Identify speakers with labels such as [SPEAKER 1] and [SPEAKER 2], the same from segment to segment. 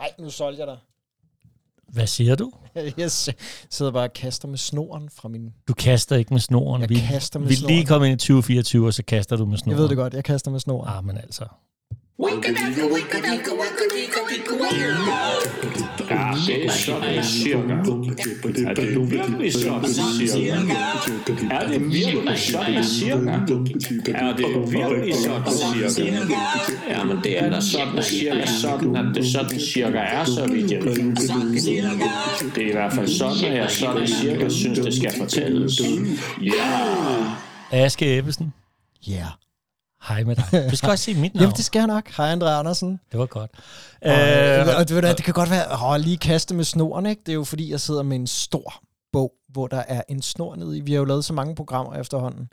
[SPEAKER 1] Ej, nu solgte jeg dig.
[SPEAKER 2] Hvad siger du?
[SPEAKER 1] Jeg sidder bare og kaster med snoren fra min...
[SPEAKER 2] Du kaster ikke med snoren.
[SPEAKER 1] Jeg
[SPEAKER 2] vi,
[SPEAKER 1] kaster med
[SPEAKER 2] vi
[SPEAKER 1] snoren.
[SPEAKER 2] lige kom ind i 2024, og så kaster du med snoren.
[SPEAKER 1] Jeg ved det godt, jeg kaster med snoren.
[SPEAKER 2] Ah, men altså.
[SPEAKER 3] det er sådan cirka. Er det virkelig sådan cirka? Er det virkelig sådan cirka? Er det virkelig sådan cirka? Ja, men det er da sådan cirka sådan, at det sådan cirka er, så vidt jeg ved. Det er i hvert fald sådan, at jeg sådan cirka synes, det skal fortælles. Ja!
[SPEAKER 2] Aske Ebbesen.
[SPEAKER 1] Ja. Yeah.
[SPEAKER 2] Hej med dig. Du skal også se mit navn.
[SPEAKER 1] Jamen, det skal jeg nok. Hej, André Andersen.
[SPEAKER 2] det var godt.
[SPEAKER 1] Øh,
[SPEAKER 2] Øh,
[SPEAKER 1] og, det, ved du hvad, det kan godt være, åh, lige kaste med snoren, ikke? Det er jo fordi, jeg sidder med en stor bog, hvor der er en snor nede i. Vi har jo lavet så mange programmer efterhånden.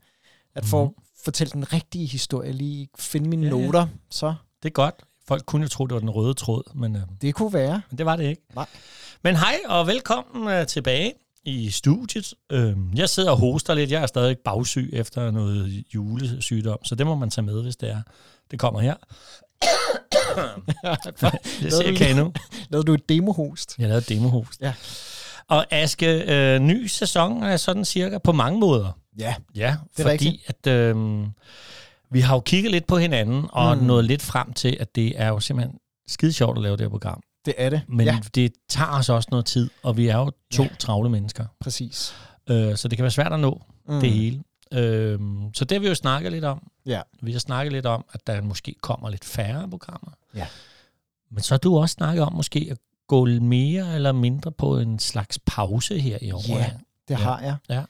[SPEAKER 1] At for mm-hmm. at fortælle den rigtige historie, lige finde mine
[SPEAKER 2] Mhm. Ja,
[SPEAKER 1] ja,
[SPEAKER 2] ja.
[SPEAKER 1] noter, så
[SPEAKER 2] det er godt. Folk kunne jo tro, det var den røde tråd, men, øh,
[SPEAKER 1] det kunne være.
[SPEAKER 2] men det var det ikke.
[SPEAKER 1] Nej.
[SPEAKER 2] Men hej og velkommen øh, tilbage i studiet. Øh, jeg sidder og hoster lidt. Jeg er stadig bagsyg efter noget julesygdom, så det må man tage med, hvis det er. Det kommer her. jeg
[SPEAKER 1] Lavede
[SPEAKER 2] ser
[SPEAKER 1] du
[SPEAKER 2] ikke endnu.
[SPEAKER 1] Lavede du et demohost?
[SPEAKER 2] Jeg lavede demohost.
[SPEAKER 1] Ja.
[SPEAKER 2] Og Aske, øh, ny sæson er sådan cirka på mange måder.
[SPEAKER 1] Ja.
[SPEAKER 2] Ja,
[SPEAKER 1] Det er
[SPEAKER 2] fordi
[SPEAKER 1] rigtigt.
[SPEAKER 2] at øh, vi har jo kigget lidt på hinanden og mm.
[SPEAKER 1] Mm.
[SPEAKER 2] nået lidt frem til, at det er jo simpelthen skide sjovt at lave det her program.
[SPEAKER 1] Det er det.
[SPEAKER 2] Men
[SPEAKER 1] Ja,
[SPEAKER 2] ja. det tager os også noget tid, og vi er jo to ja.
[SPEAKER 1] Ja.
[SPEAKER 2] travle mennesker.
[SPEAKER 1] præcis.
[SPEAKER 2] Øh, så det kan være svært at nå mm.
[SPEAKER 1] Mm.
[SPEAKER 2] det hele. Øh, så det har vi jo snakket lidt om.
[SPEAKER 1] Ja.
[SPEAKER 2] Vi har snakket lidt om, at der måske kommer lidt færre programmer.
[SPEAKER 1] Ja.
[SPEAKER 2] Men så har du også snakket om måske at gå mere eller mindre på en slags pause her i år.
[SPEAKER 1] Ja. Det
[SPEAKER 2] Ja.
[SPEAKER 1] ja. har jeg.
[SPEAKER 2] Ja.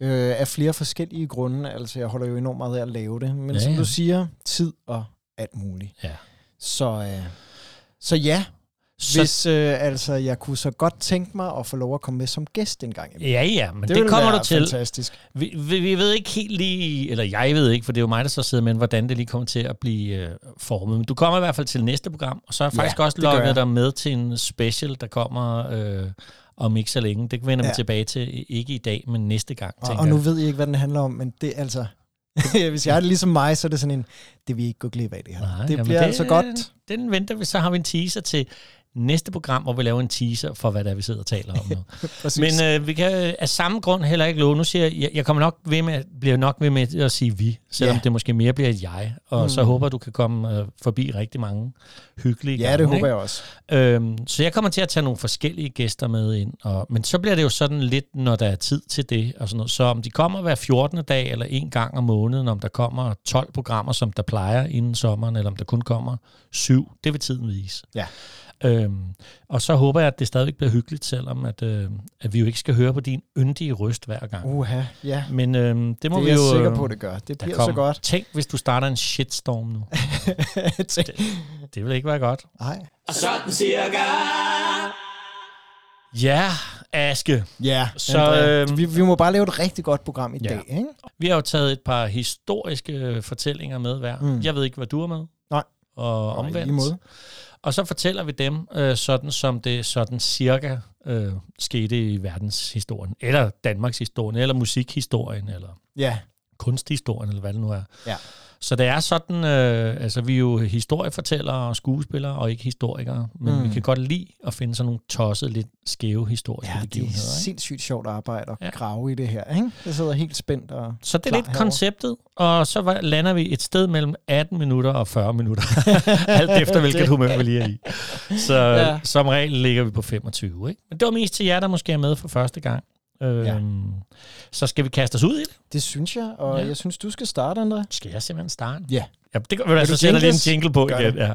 [SPEAKER 1] Øh, af flere forskellige grunde. Altså, jeg holder jo enormt meget af at lave det. Men
[SPEAKER 2] Ja,
[SPEAKER 1] ja, som
[SPEAKER 2] ja.
[SPEAKER 1] du siger, tid og alt muligt.
[SPEAKER 2] Ja.
[SPEAKER 1] Så, øh, så ja,
[SPEAKER 2] Så,
[SPEAKER 1] hvis øh, altså, jeg kunne så godt tænke mig at få lov at komme med som gæst en gang. imellem.
[SPEAKER 2] ja, ja, men det,
[SPEAKER 1] ville
[SPEAKER 2] det kommer
[SPEAKER 1] være
[SPEAKER 2] du til.
[SPEAKER 1] fantastisk.
[SPEAKER 2] Vi, vi, vi ved ikke helt lige, eller jeg ved ikke, for det er jo mig, der så sidder med, hvordan det lige kommer til at blive øh, formet. Men du kommer i hvert fald til næste program, og så har jeg
[SPEAKER 1] Ja,
[SPEAKER 2] faktisk også
[SPEAKER 1] det gør
[SPEAKER 2] lukket
[SPEAKER 1] jeg.
[SPEAKER 2] dig med til en special, der kommer øh, om ikke så længe. Det vender vi
[SPEAKER 1] Ja.
[SPEAKER 2] tilbage til, ikke i dag, men næste gang,
[SPEAKER 1] Og,
[SPEAKER 2] tænker
[SPEAKER 1] og nu
[SPEAKER 2] jeg.
[SPEAKER 1] ved jeg ikke, hvad den handler om, men det er altså... Hvis jeg er det ligesom mig, så er det sådan en, det vil I ikke gå glip af det her.
[SPEAKER 2] Nej,
[SPEAKER 1] det
[SPEAKER 2] jamen, øh,
[SPEAKER 1] bliver altså godt.
[SPEAKER 2] Den, den venter vi, så har vi en teaser til næste program, hvor vi laver en teaser for, hvad det er, vi sidder og taler om nu.
[SPEAKER 1] Præcis.
[SPEAKER 2] Men øh, vi kan øh, af samme grund heller ikke love. Nu siger jeg, jeg, jeg kommer nok ved med, bliver nok ved med at sige vi, selvom
[SPEAKER 1] Ja.
[SPEAKER 2] det måske mere bliver et jeg. Og mm. så håber jeg, du kan komme øh, forbi rigtig mange hyggelige
[SPEAKER 1] ja, det
[SPEAKER 2] gange,
[SPEAKER 1] håber jeg også.
[SPEAKER 2] ikke? Øhm, så jeg kommer til at tage nogle forskellige gæster med ind. Og, men så bliver det jo sådan lidt, når der er tid til det. Og sådan noget. Så om de kommer hver 14. dag eller en gang om måneden, om der kommer 12 programmer, som der plejer inden sommeren, eller om der kun kommer syv, det vil tiden vise.
[SPEAKER 1] Ja.
[SPEAKER 2] Øhm, og så håber jeg, at det stadigvæk bliver hyggeligt, selvom at, øh, at vi jo ikke skal høre på din yndige røst hver gang. Uh,
[SPEAKER 1] Uha, ja.
[SPEAKER 2] Men øhm, det må
[SPEAKER 1] Det
[SPEAKER 2] vi
[SPEAKER 1] er
[SPEAKER 2] jo...
[SPEAKER 1] jeg sikker
[SPEAKER 2] øh,
[SPEAKER 1] på, det gør. Det
[SPEAKER 2] der
[SPEAKER 1] bliver så
[SPEAKER 2] kommer.
[SPEAKER 1] godt.
[SPEAKER 2] Tænk, hvis du starter en shitstorm nu. Det vil ikke være godt.
[SPEAKER 1] Nej.
[SPEAKER 2] Ja, Aske.
[SPEAKER 1] Ja,
[SPEAKER 2] Så,
[SPEAKER 1] Andrea,
[SPEAKER 2] øhm,
[SPEAKER 1] vi, vi må bare lave et rigtig godt program i
[SPEAKER 2] Ja.
[SPEAKER 1] ja. dag, ikke?
[SPEAKER 2] Vi har jo taget et par historiske øh, fortællinger med hver. Mm.
[SPEAKER 1] Mm.
[SPEAKER 2] Jeg ved ikke, hvad du har med.
[SPEAKER 1] Nej.
[SPEAKER 2] Og
[SPEAKER 1] Og i lige
[SPEAKER 2] omvendt.
[SPEAKER 1] måde.
[SPEAKER 2] Og så fortæller vi dem, øh, sådan som det sådan cirka øh, skete i verdenshistorien, eller Danmarks historien, eller musikhistorien, eller
[SPEAKER 1] Ja,
[SPEAKER 2] kunsthistorien, eller hvad det nu er.
[SPEAKER 1] Ja.
[SPEAKER 2] Så det er sådan, øh, altså vi er jo historiefortællere og skuespillere, og ikke historikere, men mm.
[SPEAKER 1] Mm.
[SPEAKER 2] vi kan godt lide at finde sådan nogle tossede, lidt skæve historiske
[SPEAKER 1] ja det er
[SPEAKER 2] begivenheder. Ikke?
[SPEAKER 1] sindssygt sjovt arbejde at
[SPEAKER 2] Ja.
[SPEAKER 1] ja. grave i det her, ikke? Jeg sidder helt spændt og...
[SPEAKER 2] Så det er
[SPEAKER 1] klar
[SPEAKER 2] lidt
[SPEAKER 1] herover.
[SPEAKER 2] konceptet, og så var- lander vi et sted mellem 18 minutter og 40 minutter, alt efter hvilket humør vi lige er i. Så ja.
[SPEAKER 1] Ja.
[SPEAKER 2] som regel ligger vi på 25, ikke? Men det var mest til jer, der måske er med for første gang. Øhm, ja.
[SPEAKER 1] Ja.
[SPEAKER 2] Så skal vi kaste os ud i det?
[SPEAKER 1] Det synes jeg, og
[SPEAKER 2] Ja.
[SPEAKER 1] ja. jeg synes, du skal starte, André.
[SPEAKER 2] Skal jeg simpelthen starte?
[SPEAKER 1] Ja.
[SPEAKER 2] ja det gør vi, så
[SPEAKER 1] du
[SPEAKER 2] sætter lige en
[SPEAKER 1] jingles?
[SPEAKER 2] jingle på
[SPEAKER 1] Gør
[SPEAKER 2] igen.
[SPEAKER 1] det.
[SPEAKER 2] Ja.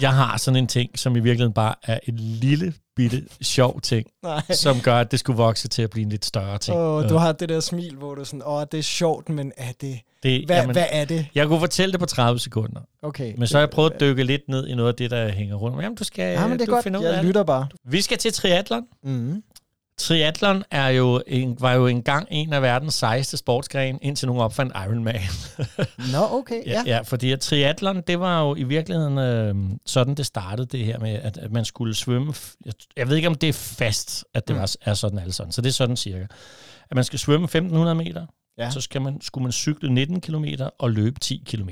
[SPEAKER 2] Jeg har sådan en ting, som i virkeligheden bare er en lille bitte sjov ting,
[SPEAKER 1] Nej.
[SPEAKER 2] som gør, at det skulle vokse til at blive en lidt større ting. Øh,
[SPEAKER 1] Åh, du har det der smil, hvor du er sådan, åh, det er sjovt, men er det...
[SPEAKER 2] det,
[SPEAKER 1] Hva, jamen, hvad er det?
[SPEAKER 2] Jeg kunne fortælle det på 30 sekunder.
[SPEAKER 1] Okay.
[SPEAKER 2] Men så har jeg prøvet at dykke lidt ned i noget af det, der hænger rundt. Jamen, du skal
[SPEAKER 1] ja, men det
[SPEAKER 2] du
[SPEAKER 1] er godt,
[SPEAKER 2] finde ud af
[SPEAKER 1] jeg
[SPEAKER 2] det.
[SPEAKER 1] lytter bare.
[SPEAKER 2] Vi skal til triatlon.
[SPEAKER 1] Mm.
[SPEAKER 2] Triatlon er jo en, var jo engang en af verdens sejeste sportsgrene, indtil nogen opfandt Ironman.
[SPEAKER 1] Nå, okay, ja.
[SPEAKER 2] ja. ja, fordi at triatlon, det var jo i virkeligheden øh, sådan, det startede det her med, at, at man skulle svømme. f- Jeg, jeg ved ikke, om det er fast, at det mm.
[SPEAKER 1] Mm.
[SPEAKER 2] var, er sådan alle sådan. Så det er sådan cirka. At man skal svømme 1500 meter, ja.
[SPEAKER 1] Ja.
[SPEAKER 2] så skal man, skulle man cykle 19 km og løbe 10 km.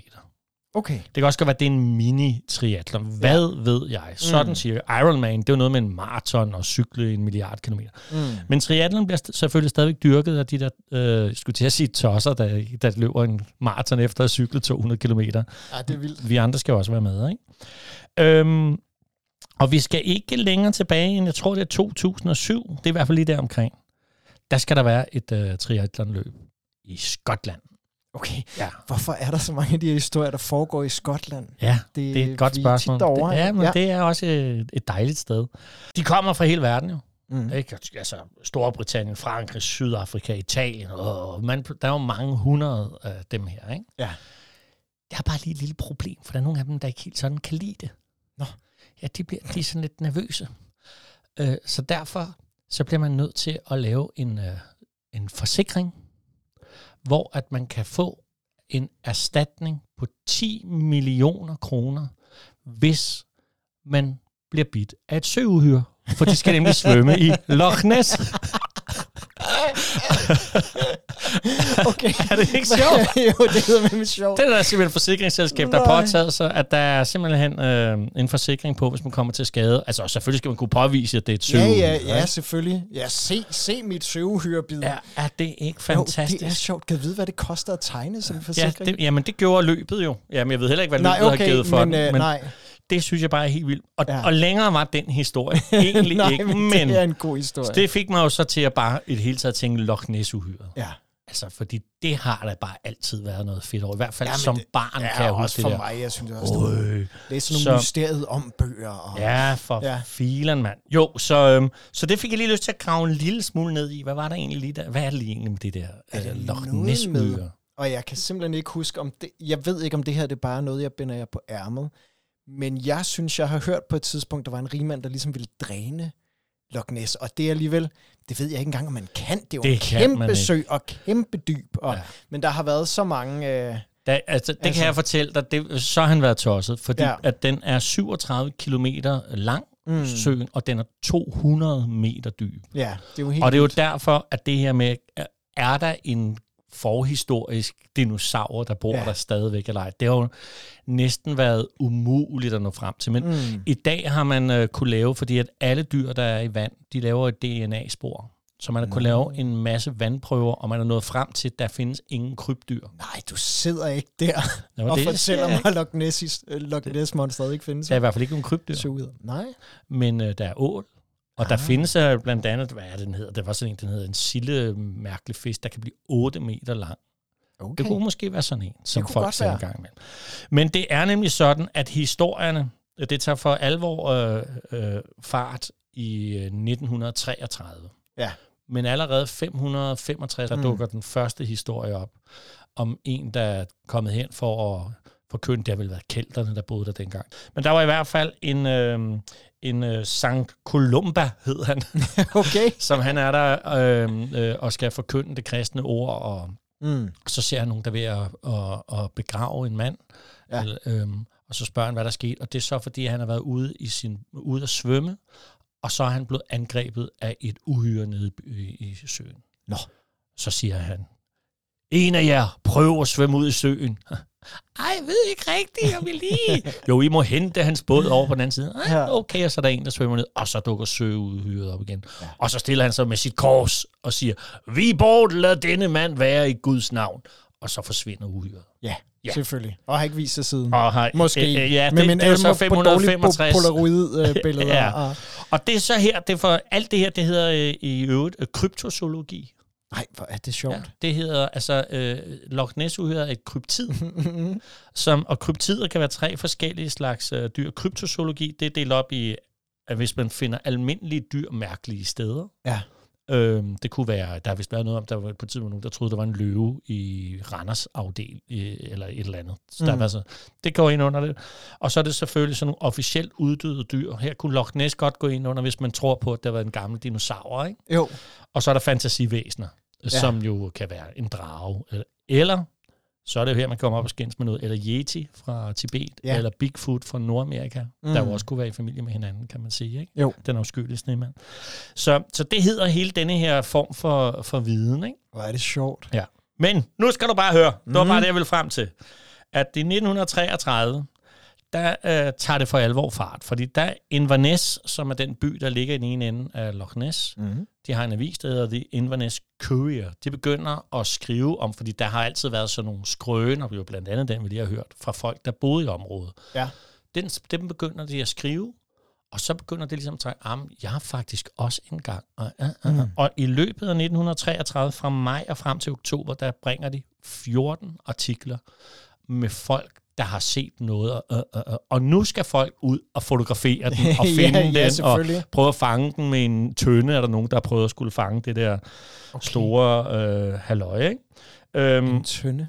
[SPEAKER 1] Okay.
[SPEAKER 2] Det kan også godt være, at det er en mini-triathlon. Hvad ja. ved jeg? Sådan mm. siger jeg. Ironman, det er jo noget med en maraton og cykle en milliard kilometer. Mm. Men triathlon bliver st- selvfølgelig stadigvæk dyrket af de der, øh, skulle til at sige tosser, der, der løber en maraton efter at cykle 200 kilometer.
[SPEAKER 1] Ja, det er vildt.
[SPEAKER 2] Vi andre skal jo også være med, ikke? Øhm, og vi skal ikke længere tilbage end, jeg tror det er 2007, det er i hvert fald lige der omkring. Der skal der være et øh, triathlonløb i Skotland.
[SPEAKER 1] Okay.
[SPEAKER 2] Ja.
[SPEAKER 1] Hvorfor er der så mange af de her historier, der foregår i Skotland?
[SPEAKER 2] Ja, det, det er et godt
[SPEAKER 1] vi er
[SPEAKER 2] spørgsmål.
[SPEAKER 1] tit derovre,
[SPEAKER 2] det, ja, men
[SPEAKER 1] ja.
[SPEAKER 2] ja. det er også et, et dejligt sted. De kommer fra hele verden jo.
[SPEAKER 1] Mm.
[SPEAKER 2] Mm. Ikke? Altså Storbritannien, Frankrig, Sydafrika, Italien. Og man, der er jo mange hundrede af dem her. Ikke?
[SPEAKER 1] Ja.
[SPEAKER 2] Der er bare lige et lille problem, for der er nogle af dem, der ikke helt sådan kan lide det.
[SPEAKER 1] Nå.
[SPEAKER 2] Ja, de, bliver, de er sådan lidt nervøse. Øh, så derfor så bliver man nødt til at lave en, øh, en forsikring, hvor at man kan få en erstatning på 10 millioner kroner, hvis man bliver bidt af et søuhyre. For de skal nemlig svømme i Loch Ness.
[SPEAKER 1] Okay.
[SPEAKER 2] Er det ikke sjovt?
[SPEAKER 1] jo, det hedder med sjovt.
[SPEAKER 2] Det er der simpelthen et forsikringsselskab, der
[SPEAKER 1] Nej.
[SPEAKER 2] har påtaget sig, at der er simpelthen øh, en forsikring på, hvis man kommer til skade. Altså, og selvfølgelig skal man kunne påvise, at det er et
[SPEAKER 1] Ja,
[SPEAKER 2] søuhyre.
[SPEAKER 1] ja, ja,
[SPEAKER 2] ikke?
[SPEAKER 1] selvfølgelig. Ja, se, se mit søvehyrebid.
[SPEAKER 2] Er, er det ikke
[SPEAKER 1] Jo,
[SPEAKER 2] fantastisk?
[SPEAKER 1] det er sjovt. Kan du vide, hvad det koster at tegne som
[SPEAKER 2] Ja,
[SPEAKER 1] forsikring?
[SPEAKER 2] det, jamen, det gjorde løbet jo. Jamen, jeg ved heller ikke, hvad
[SPEAKER 1] nej,
[SPEAKER 2] løbet
[SPEAKER 1] okay,
[SPEAKER 2] har givet for
[SPEAKER 1] men,
[SPEAKER 2] den,
[SPEAKER 1] øh,
[SPEAKER 2] men
[SPEAKER 1] nej.
[SPEAKER 2] det synes jeg bare er helt vildt. Og,
[SPEAKER 1] Ja.
[SPEAKER 2] ja. og længere var den historie egentlig
[SPEAKER 1] nej,
[SPEAKER 2] ikke,
[SPEAKER 1] men
[SPEAKER 2] men
[SPEAKER 1] det er en god historie.
[SPEAKER 2] det fik mig jo så til at bare i det hele taget tænke Loch Ness-uhyret.
[SPEAKER 1] Ja.
[SPEAKER 2] Altså, fordi det har da bare altid været noget fedt over. I hvert fald
[SPEAKER 1] Ja,
[SPEAKER 2] ja,
[SPEAKER 1] men
[SPEAKER 2] som
[SPEAKER 1] det-
[SPEAKER 2] det, barn
[SPEAKER 1] ja,
[SPEAKER 2] kan jeg
[SPEAKER 1] også
[SPEAKER 2] huske
[SPEAKER 1] for
[SPEAKER 2] det der.
[SPEAKER 1] mig. Jeg synes det er også, det er-
[SPEAKER 2] Øj.
[SPEAKER 1] det er sådan nogle
[SPEAKER 2] Så-
[SPEAKER 1] mysteriet om bøger. Og,
[SPEAKER 2] Ja, for
[SPEAKER 1] Ja.
[SPEAKER 2] ja. filen, mand. Jo, så, øhm, så det fik jeg lige lyst til at grave en lille smule ned i. Hvad var der egentlig lige der? Hvad er det lige egentlig med det der øh, Loch
[SPEAKER 1] noget
[SPEAKER 2] ness
[SPEAKER 1] med- og jeg kan simpelthen ikke huske, om det, jeg ved ikke, om det her det er bare noget, jeg binder jer på ærmet. Men jeg synes, jeg har hørt på et tidspunkt, der var en rigmand, der ligesom ville dræne Loch Ness. Og det er alligevel, det ved jeg ikke engang, om man kan. Det er jo
[SPEAKER 2] Det
[SPEAKER 1] en
[SPEAKER 2] kan man
[SPEAKER 1] kæmpe
[SPEAKER 2] ikke.
[SPEAKER 1] sø og kæmpe dyb. Og, ja.
[SPEAKER 2] Ja.
[SPEAKER 1] Men der har været så mange... Øh,
[SPEAKER 2] Da, altså, det
[SPEAKER 1] Altså.
[SPEAKER 2] altså. kan jeg fortælle dig, det, så har han været tosset, fordi
[SPEAKER 1] Ja.
[SPEAKER 2] ja. at den er 37 kilometer lang, mm. søen, og den er 200 meter dyb.
[SPEAKER 1] ja, det er jo helt...
[SPEAKER 2] Og det er jo derfor, at det her med, er- er der en forhistorisk dinosaur, der bor
[SPEAKER 1] Ja.
[SPEAKER 2] ja. der stadigvæk eller ej? Det har jo næsten været umuligt at nå frem til. Men mm. i dag har man øh, kunne lave, fordi at alle dyr, der er i vand, de laver et DNA-spor. Så man har
[SPEAKER 1] Mm.
[SPEAKER 2] kunnet lave en masse vandprøver, og man er nået frem til, at der findes ingen krybdyr.
[SPEAKER 1] Nej, du sidder ikke der
[SPEAKER 2] Nå,
[SPEAKER 1] og
[SPEAKER 2] det
[SPEAKER 1] fortæller
[SPEAKER 2] skal jeg
[SPEAKER 1] mig, at Loch Ness, øh, Loch Ness monsteret ikke findes.
[SPEAKER 2] Der er i hvert fald ikke nogen krybdyr.
[SPEAKER 1] Så ud. Nej.
[SPEAKER 2] men øh, der er ål. Og
[SPEAKER 1] Ah.
[SPEAKER 2] der findes øh, blandt andet, hvad er det, den hedder? Der var sådan en, den hedder en sille mærkelig fisk, der kan blive 8 meter lang.
[SPEAKER 1] Okay.
[SPEAKER 2] Det kunne måske være sådan en, som
[SPEAKER 1] kunne
[SPEAKER 2] folk
[SPEAKER 1] godt
[SPEAKER 2] ser
[SPEAKER 1] være.
[SPEAKER 2] en gang imellem. Men det er nemlig sådan, at historierne, øh, det tager for alvor øh, øh, fart i øh, 1933.
[SPEAKER 1] Ja.
[SPEAKER 2] Men allerede 565, der
[SPEAKER 1] Mm.
[SPEAKER 2] mm. dukker den første historie op, om en, der er kommet hen for at forkynde, det har vel været kælderne, der boede der dengang. Men der var i hvert fald en, øh, en øh, Sankt Columba, hed han,
[SPEAKER 1] Okay.
[SPEAKER 2] som han er der øh, øh, og skal forkynde det kristne ord og
[SPEAKER 1] Mm.
[SPEAKER 2] så ser han nogen, der er ved at, at, at begrave en mand.
[SPEAKER 1] Ja.
[SPEAKER 2] Ja. Eller, øhm, og så spørger han, hvad der skete. Og det er så, fordi han har været ude, i sin, ude at svømme, og så er han blevet angrebet af et uhyre nede i by- i, i søen.
[SPEAKER 1] Nå.
[SPEAKER 2] Så siger han, en af jer prøver at svømme ud i søen. Ej, jeg ved ikke rigtigt, om vi lige... jo, I må hente hans båd over på den anden side. Ej,
[SPEAKER 1] Ja.
[SPEAKER 2] okay, og så er der en, der svømmer ned, og så dukker søudhyret op igen. Ja. Og så stiller han sig med sit kors og siger, vi bort lad denne mand være i Guds navn. Og så forsvinder uhyret.
[SPEAKER 1] Ja, ja,
[SPEAKER 2] Ja.
[SPEAKER 1] selvfølgelig. Og har ikke vist sig siden.
[SPEAKER 2] Og har,
[SPEAKER 1] Måske.
[SPEAKER 2] Øh, øh, ja, det,
[SPEAKER 1] Men,
[SPEAKER 2] men, det, det er jo så
[SPEAKER 1] på dårlige po-
[SPEAKER 2] 565.
[SPEAKER 1] Polaroid-billeder.
[SPEAKER 2] Ja.
[SPEAKER 1] og,
[SPEAKER 2] Og det er så her, det er for, alt det her, det hedder øh, i øvrigt øh, kryptozoologi.
[SPEAKER 1] nej, hvor er det sjovt.
[SPEAKER 2] Ja, det hedder, altså, øh, Loch ness er et kryptid, som, og kryptider kan være tre forskellige slags øh, dyr. Kryptozoologi, det er delt op i, at hvis man finder almindelige dyr mærkelige steder.
[SPEAKER 1] Ja.
[SPEAKER 2] Øhm, det kunne være, der har vist været noget om, der var på et tidspunkt nogen, der troede, der var en løve i Randers afdel, øh, eller et eller andet. Så der
[SPEAKER 1] Mm.
[SPEAKER 2] var så, det går ind under det. Og så er det selvfølgelig sådan nogle officielt uddøde dyr. Her kunne Loch Ness godt gå ind under, hvis man tror på, at der var en gammel dinosaur, ikke?
[SPEAKER 1] Jo,
[SPEAKER 2] Og så er der fantasivæsener, ja. som jo kan være en drage. Eller, eller så er det jo her, man kommer op og skændes med noget. Eller Yeti fra Tibet,
[SPEAKER 1] Ja.
[SPEAKER 2] ja. eller Bigfoot fra Nordamerika, mm. der jo også kunne være i familie med hinanden, kan man sige. Ikke?
[SPEAKER 1] Jo.
[SPEAKER 2] Den afskyelige snemand. Så, så det hedder hele denne her form for, for viden. Ikke?
[SPEAKER 1] hvor er det sjovt.
[SPEAKER 2] Ja. Men nu skal du bare høre. Det var bare det, jeg ville frem til. at i 1933, der øh, tager det for alvor fart. Fordi der er Inverness, som er den by, der ligger i den ene ende af Loch Ness,
[SPEAKER 1] Mm-hmm.
[SPEAKER 2] de har en avis, der hedder The Inverness Courier. De begynder at skrive om, fordi der har altid været sådan nogle skrøner, jo blandt andet den, vi lige har hørt, fra folk, der boede i området.
[SPEAKER 1] Ja.
[SPEAKER 2] Den, dem begynder de at skrive, og så begynder det ligesom at tage, at jeg har faktisk også en gang. Og, uh, uh, mm. og i løbet af 1933, fra maj og frem til oktober, der bringer de 14 artikler med folk, der har set noget. Og, og, og, og- og nu skal folk ud og fotografere den, og
[SPEAKER 1] Ja,
[SPEAKER 2] finde
[SPEAKER 1] ja,
[SPEAKER 2] den, og
[SPEAKER 1] selvfølgelig.
[SPEAKER 2] prøve at fange den med en tønde. Er der nogen, der har prøvet at skulle fange det der okay. store øh, halløj, ikke?
[SPEAKER 1] Mm.
[SPEAKER 2] Øhm,
[SPEAKER 1] Tønde.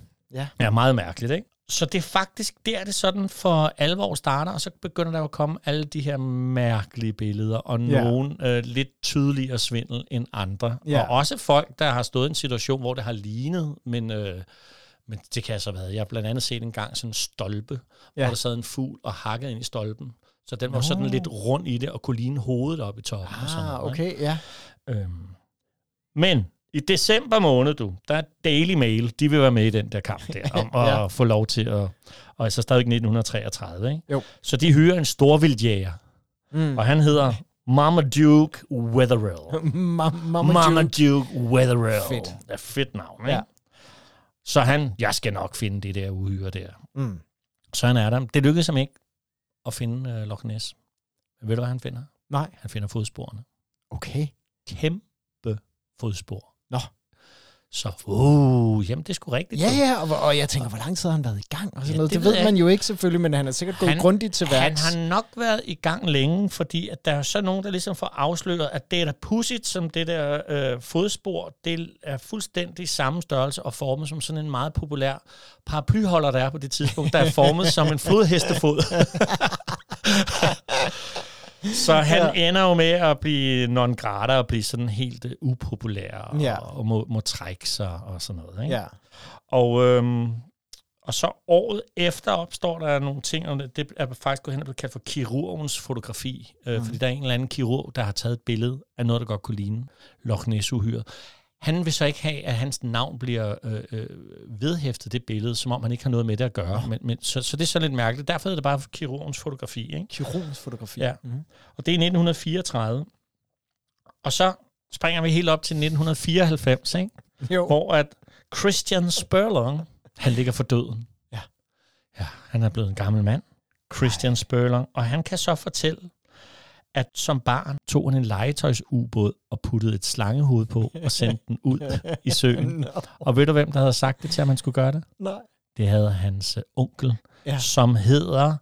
[SPEAKER 2] Ja, meget mærkeligt, ikke? Så det er faktisk der, det sådan for alvor starter, og så begynder der jo at komme alle de her mærkelige billeder, og
[SPEAKER 1] Ja.
[SPEAKER 2] ja. nogen øh, lidt tydeligere svindel end andre.
[SPEAKER 1] Ja.
[SPEAKER 2] Ja. Og også folk, der har stået i en situation, hvor det har lignet, men, øh, men det kan så have været. Jeg har blandt andet set en gang sådan en stolpe,
[SPEAKER 1] Ja.
[SPEAKER 2] ja. hvor der sad en fugl og hakkede ind i stolpen. Så den var
[SPEAKER 1] Nå.
[SPEAKER 2] sådan lidt rund i det, og kunne ligne hovedet op i toppen. og sådan
[SPEAKER 1] Ah,
[SPEAKER 2] noget, ikke?
[SPEAKER 1] okay, ja.
[SPEAKER 2] Øhm. Men i december måned, du, der er Daily Mail, de vil være med i den der kamp der, om
[SPEAKER 1] Ja.
[SPEAKER 2] ja. at få lov til at... Og så stadig 1933, ikke?
[SPEAKER 1] Jo.
[SPEAKER 2] Så de hyrer en storvildjæger,
[SPEAKER 1] Mm.
[SPEAKER 2] og han hedder Marmaduke Wetherill.
[SPEAKER 1] Ma- Mama June.
[SPEAKER 2] Marmaduke Wetherill.
[SPEAKER 1] Fedt.
[SPEAKER 2] Det er fedt navn, ikke?
[SPEAKER 1] Ja.
[SPEAKER 2] Ja. Så han, jeg skal nok finde det der uhyre der.
[SPEAKER 1] Mm.
[SPEAKER 2] Så han er der. Det lykkedes ham ikke at finde øh, Loch Ness. Men ved du, hvad han finder?
[SPEAKER 1] Nej.
[SPEAKER 2] Han finder fodsporene.
[SPEAKER 1] Okay.
[SPEAKER 2] kæmpe fodspor.
[SPEAKER 1] Nå.
[SPEAKER 2] Så, uh, jamen det er sgu rigtigt.
[SPEAKER 1] Ja, ja, og, og jeg tænker, hvor lang tid har han været i gang? Og sådan
[SPEAKER 2] Ja,
[SPEAKER 1] noget. Det,
[SPEAKER 2] det
[SPEAKER 1] det
[SPEAKER 2] ved
[SPEAKER 1] ved
[SPEAKER 2] jeg
[SPEAKER 1] man jo ikke selvfølgelig, men han er sikkert gået
[SPEAKER 2] Han-
[SPEAKER 1] grundigt til
[SPEAKER 2] Han
[SPEAKER 1] værks.
[SPEAKER 2] har nok været i gang længe, fordi at der er så nogen, der ligesom får afsløret, at det er da pudsigt, som det der øh, fodspor, det er fuldstændig samme størrelse og formet som sådan en meget populær paraplyholder, der er på det tidspunkt, der er formet som en flodhestefod. så han ja. ender jo med at blive non grata og blive sådan helt øh, upopulær
[SPEAKER 1] Ja.
[SPEAKER 2] og, og må, må trække sig og sådan noget. Ikke?
[SPEAKER 1] Ja.
[SPEAKER 2] Og, øhm, og så året efter opstår der nogle ting, og det er faktisk gået hen og blevet kaldt for kirurgens fotografi, øh, mm. fordi der er en eller anden kirurg, der har taget et billede af noget, der godt kunne ligne Loch ness uhyret. Han vil så ikke have, at hans navn bliver øh, øh, vedhæftet det billede, som om han ikke har noget med det at gøre. Men, men, så, så det er så lidt mærkeligt. Derfor hedder det bare kirurgens fotografi. Ikke?
[SPEAKER 1] Kirurgens fotografi.
[SPEAKER 2] Ja.
[SPEAKER 1] Mm.
[SPEAKER 2] Og det er i 1934. Og så springer vi helt op til 1994, ikke?
[SPEAKER 1] Jo.
[SPEAKER 2] hvor at Christian Spurlong, han ligger for døden.
[SPEAKER 1] Ja.
[SPEAKER 2] ja han er blevet en gammel mand, Christian Ej. Spurlong, og han kan så fortælle, at som barn tog han en legetøjsubåd og puttede et slangehoved på og sendte den ud i søen.
[SPEAKER 1] Nå,
[SPEAKER 2] Og ved du, hvem der havde sagt det til, at man skulle gøre det?
[SPEAKER 1] nej.
[SPEAKER 2] Det havde hans øh, onkel,
[SPEAKER 1] Ja.
[SPEAKER 2] ja. som hedder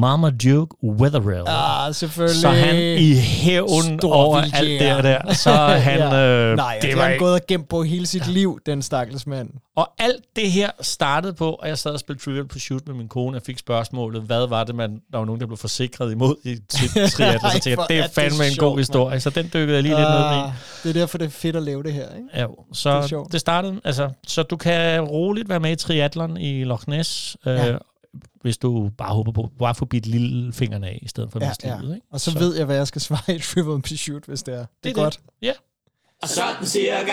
[SPEAKER 2] Marmaduke Wetherill.
[SPEAKER 1] Ah, selvfølgelig.
[SPEAKER 2] Så han i hævn
[SPEAKER 1] Stor
[SPEAKER 2] over alt
[SPEAKER 1] vildjæger.
[SPEAKER 2] det der, så er han...
[SPEAKER 1] Ja.
[SPEAKER 2] øh,
[SPEAKER 1] Nej, det, det har han gået og gemt på hele sit ja. liv, den stakkels mand.
[SPEAKER 2] Og alt det her startede på, og jeg sad og spillede Trivial Pursuit med min kone, og fik spørgsmålet, hvad var det, man, der var nogen, der blev forsikret imod i til triathlon,
[SPEAKER 1] Ej,
[SPEAKER 2] så tænkte
[SPEAKER 1] hvor
[SPEAKER 2] jeg, det
[SPEAKER 1] er
[SPEAKER 2] er
[SPEAKER 1] det
[SPEAKER 2] fandme en
[SPEAKER 1] sjovt,
[SPEAKER 2] god
[SPEAKER 1] mand.
[SPEAKER 2] historie, så den dykkede jeg lige lidt ned i.
[SPEAKER 1] Ah, det er derfor, det er fedt at lave det her, ikke?
[SPEAKER 2] Ja, jo.
[SPEAKER 1] Det
[SPEAKER 2] så
[SPEAKER 1] er sjovt.
[SPEAKER 2] det, det startede, altså, så du kan roligt være med i triathlon i Loch Ness, øh,
[SPEAKER 1] Ja.
[SPEAKER 2] ja. hvis du bare håber på, bare få bidt lille fingrene af, i stedet for at
[SPEAKER 1] Ja,
[SPEAKER 2] ja, miste
[SPEAKER 1] ja.
[SPEAKER 2] ja. livet. Ikke?
[SPEAKER 1] Og så, så ved jeg, hvad jeg skal svare i Trivial Pursuit, hvis det er. Det, det er
[SPEAKER 2] det.
[SPEAKER 1] godt.
[SPEAKER 2] Ja.
[SPEAKER 3] Sådan cirka.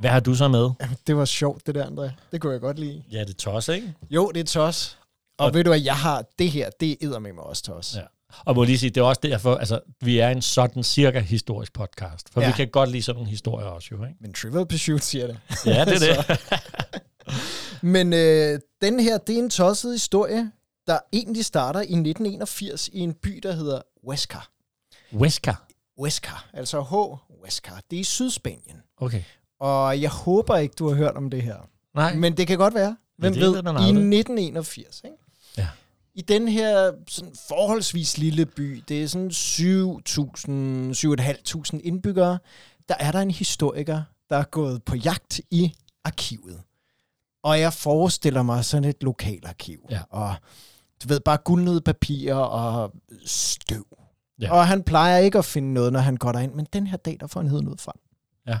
[SPEAKER 2] Hvad har du så med?
[SPEAKER 1] Det var sjovt, det der, André. Det kunne jeg godt lide.
[SPEAKER 2] Ja, det er tosset, ikke?
[SPEAKER 1] Jo, det er tos. Og, og ved du, at jeg har det her, det er med mig også tos.
[SPEAKER 2] Ja. Og må lige sige, det er også derfor, altså, vi er en sådan cirka historisk podcast, for
[SPEAKER 1] Ja.
[SPEAKER 2] ja. vi kan godt lide sådan nogle historier også, jo, ikke?
[SPEAKER 1] Men Trivial Pursuit siger det.
[SPEAKER 2] Ja, det er det.
[SPEAKER 1] Men øh, den her, det er en tosset historie, der egentlig starter i 1981 i en by, der hedder Huesca.
[SPEAKER 2] Huesca.
[SPEAKER 1] Huesca, altså H. Huesca. Det er i Sydspanien.
[SPEAKER 2] Okay.
[SPEAKER 1] Og jeg håber ikke, du har hørt om det her.
[SPEAKER 2] Nej. Men,
[SPEAKER 1] Men det kan godt være. Hvem
[SPEAKER 2] det
[SPEAKER 1] ved,
[SPEAKER 2] ved man
[SPEAKER 1] i
[SPEAKER 2] aldrig.
[SPEAKER 1] 1981, ikke?
[SPEAKER 2] Ja.
[SPEAKER 1] I den her sådan forholdsvis lille by, det er sådan 7.000, 7.500 indbyggere, der er der en historiker, der er gået på jagt i arkivet. Og jeg forestiller mig sådan et lokalarkiv.
[SPEAKER 2] Ja.
[SPEAKER 1] Og du ved, bare guldnede papirer og støv.
[SPEAKER 2] Ja.
[SPEAKER 1] Og han plejer ikke at finde noget, når han går derind, men den her dag, der får han heden ud frem.
[SPEAKER 2] Ja.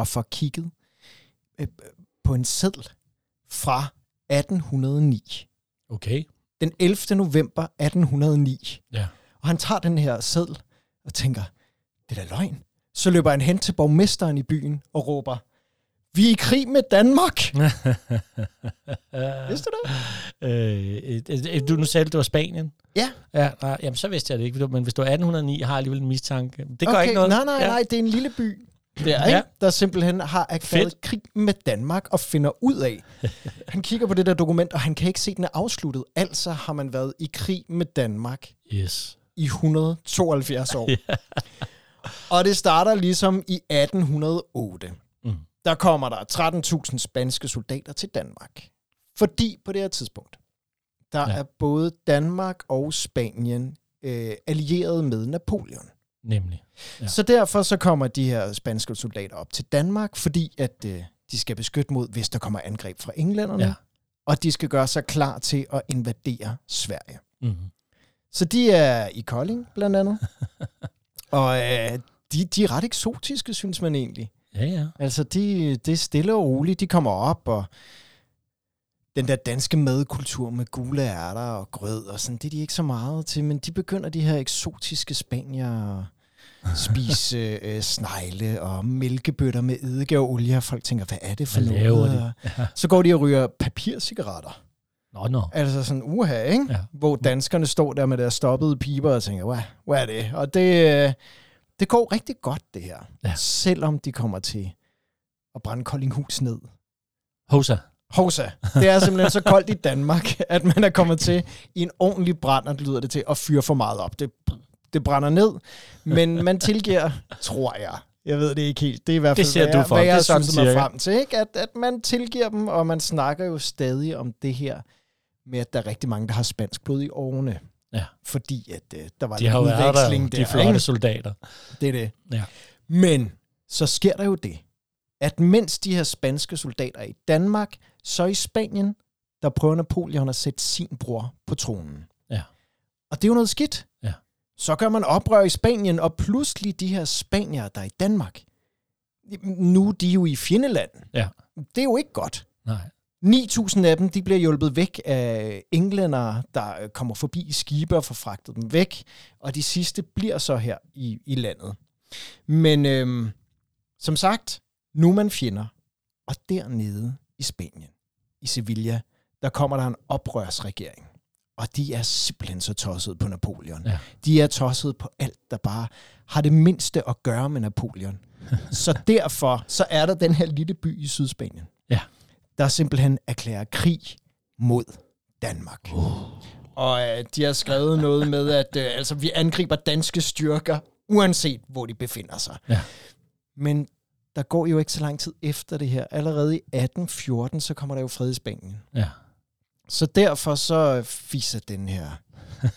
[SPEAKER 1] Og får kigget øh, på en seddel fra 1809.
[SPEAKER 2] okay.
[SPEAKER 1] Den 11. november 1809.
[SPEAKER 2] Ja.
[SPEAKER 1] Og han tager den her seddel og tænker, det er da løgn. Så løber han hen til borgmesteren i byen og råber, Vi er i krig med Danmark. Vidste du det?
[SPEAKER 2] Øh, øh, øh, du, nu sagde du, det var Spanien.
[SPEAKER 1] Ja.
[SPEAKER 2] Ja, nej, jamen, så vidste jeg det ikke, men hvis du er 1809, har jeg alligevel en mistanke. Det gør
[SPEAKER 1] okay.
[SPEAKER 2] ikke noget.
[SPEAKER 1] Nej, nej,
[SPEAKER 2] Ja.
[SPEAKER 1] nej. Det er en lille by der, ikke?
[SPEAKER 2] Ja.
[SPEAKER 1] Ja. der simpelthen har erklæret
[SPEAKER 2] Fedt.
[SPEAKER 1] krig med Danmark og finder ud af. Han kigger på det der dokument, og han kan ikke se, at den er afsluttet. Altså har man været i krig med Danmark
[SPEAKER 2] Yes.
[SPEAKER 1] i 172 år. og det starter ligesom i 1808.
[SPEAKER 2] Mm.
[SPEAKER 1] Mm. Der kommer der 13.000 spanske soldater til Danmark. Fordi på det her tidspunkt, der
[SPEAKER 2] Ja.
[SPEAKER 1] ja. er både Danmark og Spanien øh, allieret med Napoleon.
[SPEAKER 2] Nemlig. Ja.
[SPEAKER 1] Ja. Så derfor så kommer de her spanske soldater op til Danmark, fordi at øh, de skal beskytte mod, hvis der kommer angreb fra englænderne,
[SPEAKER 2] Ja.
[SPEAKER 1] ja. og de skal gøre sig klar til at invadere Sverige.
[SPEAKER 2] Mm.
[SPEAKER 1] Så de er i Kolding, blandt andet. og øh, de, de er ret eksotiske, synes man egentlig.
[SPEAKER 2] Ja, ja.
[SPEAKER 1] Altså, de, det er stille og roligt. De kommer op, og den der danske madkultur med gule ærter og grød og sådan, det er de ikke så meget til, men de begynder de her eksotiske spanier at spise øh, snegle og mælkebøtter med eddike og olie, og folk tænker, hvad er det for
[SPEAKER 2] Hvad
[SPEAKER 1] noget?
[SPEAKER 2] laver de?
[SPEAKER 1] Og Så går de og ryger papircigaretter.
[SPEAKER 2] Nå, nå.
[SPEAKER 1] Altså sådan uha, ikke?
[SPEAKER 2] Ja.
[SPEAKER 1] Ja. Hvor danskerne står der med deres stoppede piber og tænker, hvad, hvad er det? Og det, øh, det går rigtig godt, det her.
[SPEAKER 2] Ja.
[SPEAKER 1] Selvom de kommer til at brænde Koldinghus ned.
[SPEAKER 2] Hosa.
[SPEAKER 1] Hovsa, det er simpelthen så koldt i Danmark, at man er kommet til i en ordentlig brand, og det lyder det til, at fyre for meget op. Det, det brænder ned, men man tilgiver, tror jeg. Jeg ved det ikke helt. Det er i hvert
[SPEAKER 2] Det
[SPEAKER 1] fald,
[SPEAKER 2] ser
[SPEAKER 1] hvad
[SPEAKER 2] du
[SPEAKER 1] jeg,
[SPEAKER 2] for.
[SPEAKER 1] hvad
[SPEAKER 2] Det er
[SPEAKER 1] jeg
[SPEAKER 2] sådan
[SPEAKER 1] synes mig
[SPEAKER 2] cirka.
[SPEAKER 1] frem til. Ikke? At, at man tilgiver dem, og man snakker jo stadig om det her med, at der er rigtig mange, der har spansk blod i årene.
[SPEAKER 2] Ja.
[SPEAKER 1] Fordi at øh, der var
[SPEAKER 2] De
[SPEAKER 1] en
[SPEAKER 2] har jo været der, jo,
[SPEAKER 1] udveksling
[SPEAKER 2] de
[SPEAKER 1] der. ikke?
[SPEAKER 2] flotte soldater.
[SPEAKER 1] Det er det.
[SPEAKER 2] Ja.
[SPEAKER 1] Men så sker der jo det, at mens de her spanske soldater er i Danmark, så i Spanien, der prøver Napoleon at sætte sin bror på tronen.
[SPEAKER 2] Ja.
[SPEAKER 1] Og det er jo noget skidt.
[SPEAKER 2] Ja.
[SPEAKER 1] Så gør man oprør i Spanien, og pludselig de her spaniere, der er i Danmark, nu er de jo i fjendeland.
[SPEAKER 2] Ja.
[SPEAKER 1] Det er jo ikke godt.
[SPEAKER 2] Nej.
[SPEAKER 1] 9.000 af dem de bliver hjulpet væk af englænder, der øh, kommer forbi i skibe og får fragtet dem væk. Og de sidste bliver så her i, i landet. Men øhm, som sagt, nu er man fjender. Og dernede i Spanien, i Sevilla, der kommer der en oprørsregering. Og de er simpelthen så tossede på Napoleon.
[SPEAKER 2] Ja.
[SPEAKER 1] De er tossede på alt, der bare har det mindste at gøre med Napoleon. så derfor så er der den her lille by i Sydspanien der simpelthen erklærer krig mod Danmark. Oh. Og øh, de har skrevet noget med, at øh, altså, vi angriber danske styrker, uanset hvor de befinder sig.
[SPEAKER 2] Ja.
[SPEAKER 1] Men der går jo ikke så lang tid efter det her. Allerede i 1814, så kommer der jo fred i Spanien.
[SPEAKER 2] Ja.
[SPEAKER 1] Så derfor så fiser den her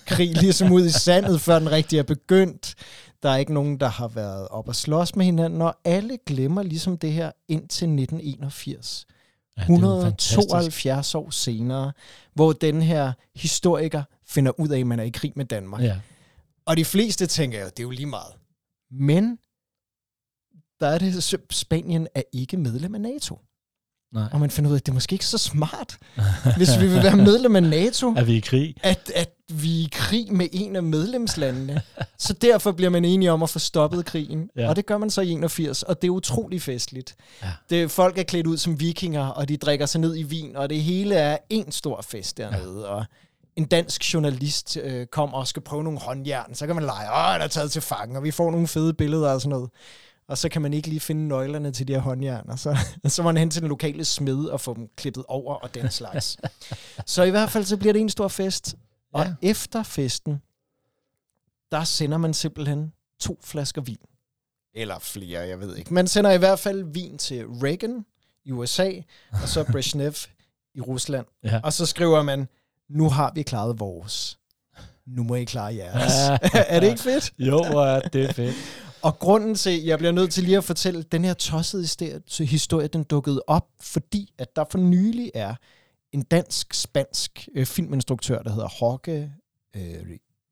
[SPEAKER 1] krig ligesom ud i sandet, før den rigtig er begyndt. Der er ikke nogen, der har været op og slås med hinanden, og alle glemmer ligesom det her indtil 1981.
[SPEAKER 2] Ja, det er jo fantastisk.
[SPEAKER 1] 172 år senere, hvor den her historiker finder ud af, at man er i krig med Danmark. Ja.
[SPEAKER 2] Ja.
[SPEAKER 1] Og de fleste tænker jo, det er jo lige meget. Men der er det, så Spanien er ikke medlem af NATO.
[SPEAKER 2] Nej.
[SPEAKER 1] Og man finder ud af, at det er måske ikke så smart, hvis vi vil være medlem af NATO,
[SPEAKER 2] Er vi i krig?
[SPEAKER 1] at, at vi er i krig med en af medlemslandene. Så derfor bliver man enige om at få stoppet krigen.
[SPEAKER 2] Ja.
[SPEAKER 1] Ja. Og det gør man så i 81, og det er utrolig festligt.
[SPEAKER 2] Ja.
[SPEAKER 1] Det, folk er klædt ud som vikinger, og de drikker sig ned i vin, og det hele er en stor fest dernede. Ja. Og en dansk journalist øh, kommer og skal prøve nogle håndjern, så kan man lege, åh, han er taget til fange, og vi får nogle fede billeder og sådan noget. Og så kan man ikke lige finde nøglerne til de her håndjern, og så, så må man hen til den lokale smed og få dem klippet over og den slags. så i hvert fald, så bliver det en stor fest. Og
[SPEAKER 2] Ja.
[SPEAKER 1] ja. efter festen, der sender man simpelthen to flasker vin. Eller flere, jeg ved ikke. Man sender i hvert fald vin til Reagan i USA, og så Brezhnev i Rusland.
[SPEAKER 2] Ja.
[SPEAKER 1] Og så skriver man, nu har vi klaret vores. Nu må I klare jeres. er det ikke fedt?
[SPEAKER 2] Jo, hvor er det fedt.
[SPEAKER 1] Og grunden til, jeg bliver nødt til lige at fortælle, den her tossede histe- historie, den dukkede op, fordi at der for nylig er en dansk-spansk øh, filminstruktør, der hedder Jorge øh, Ri-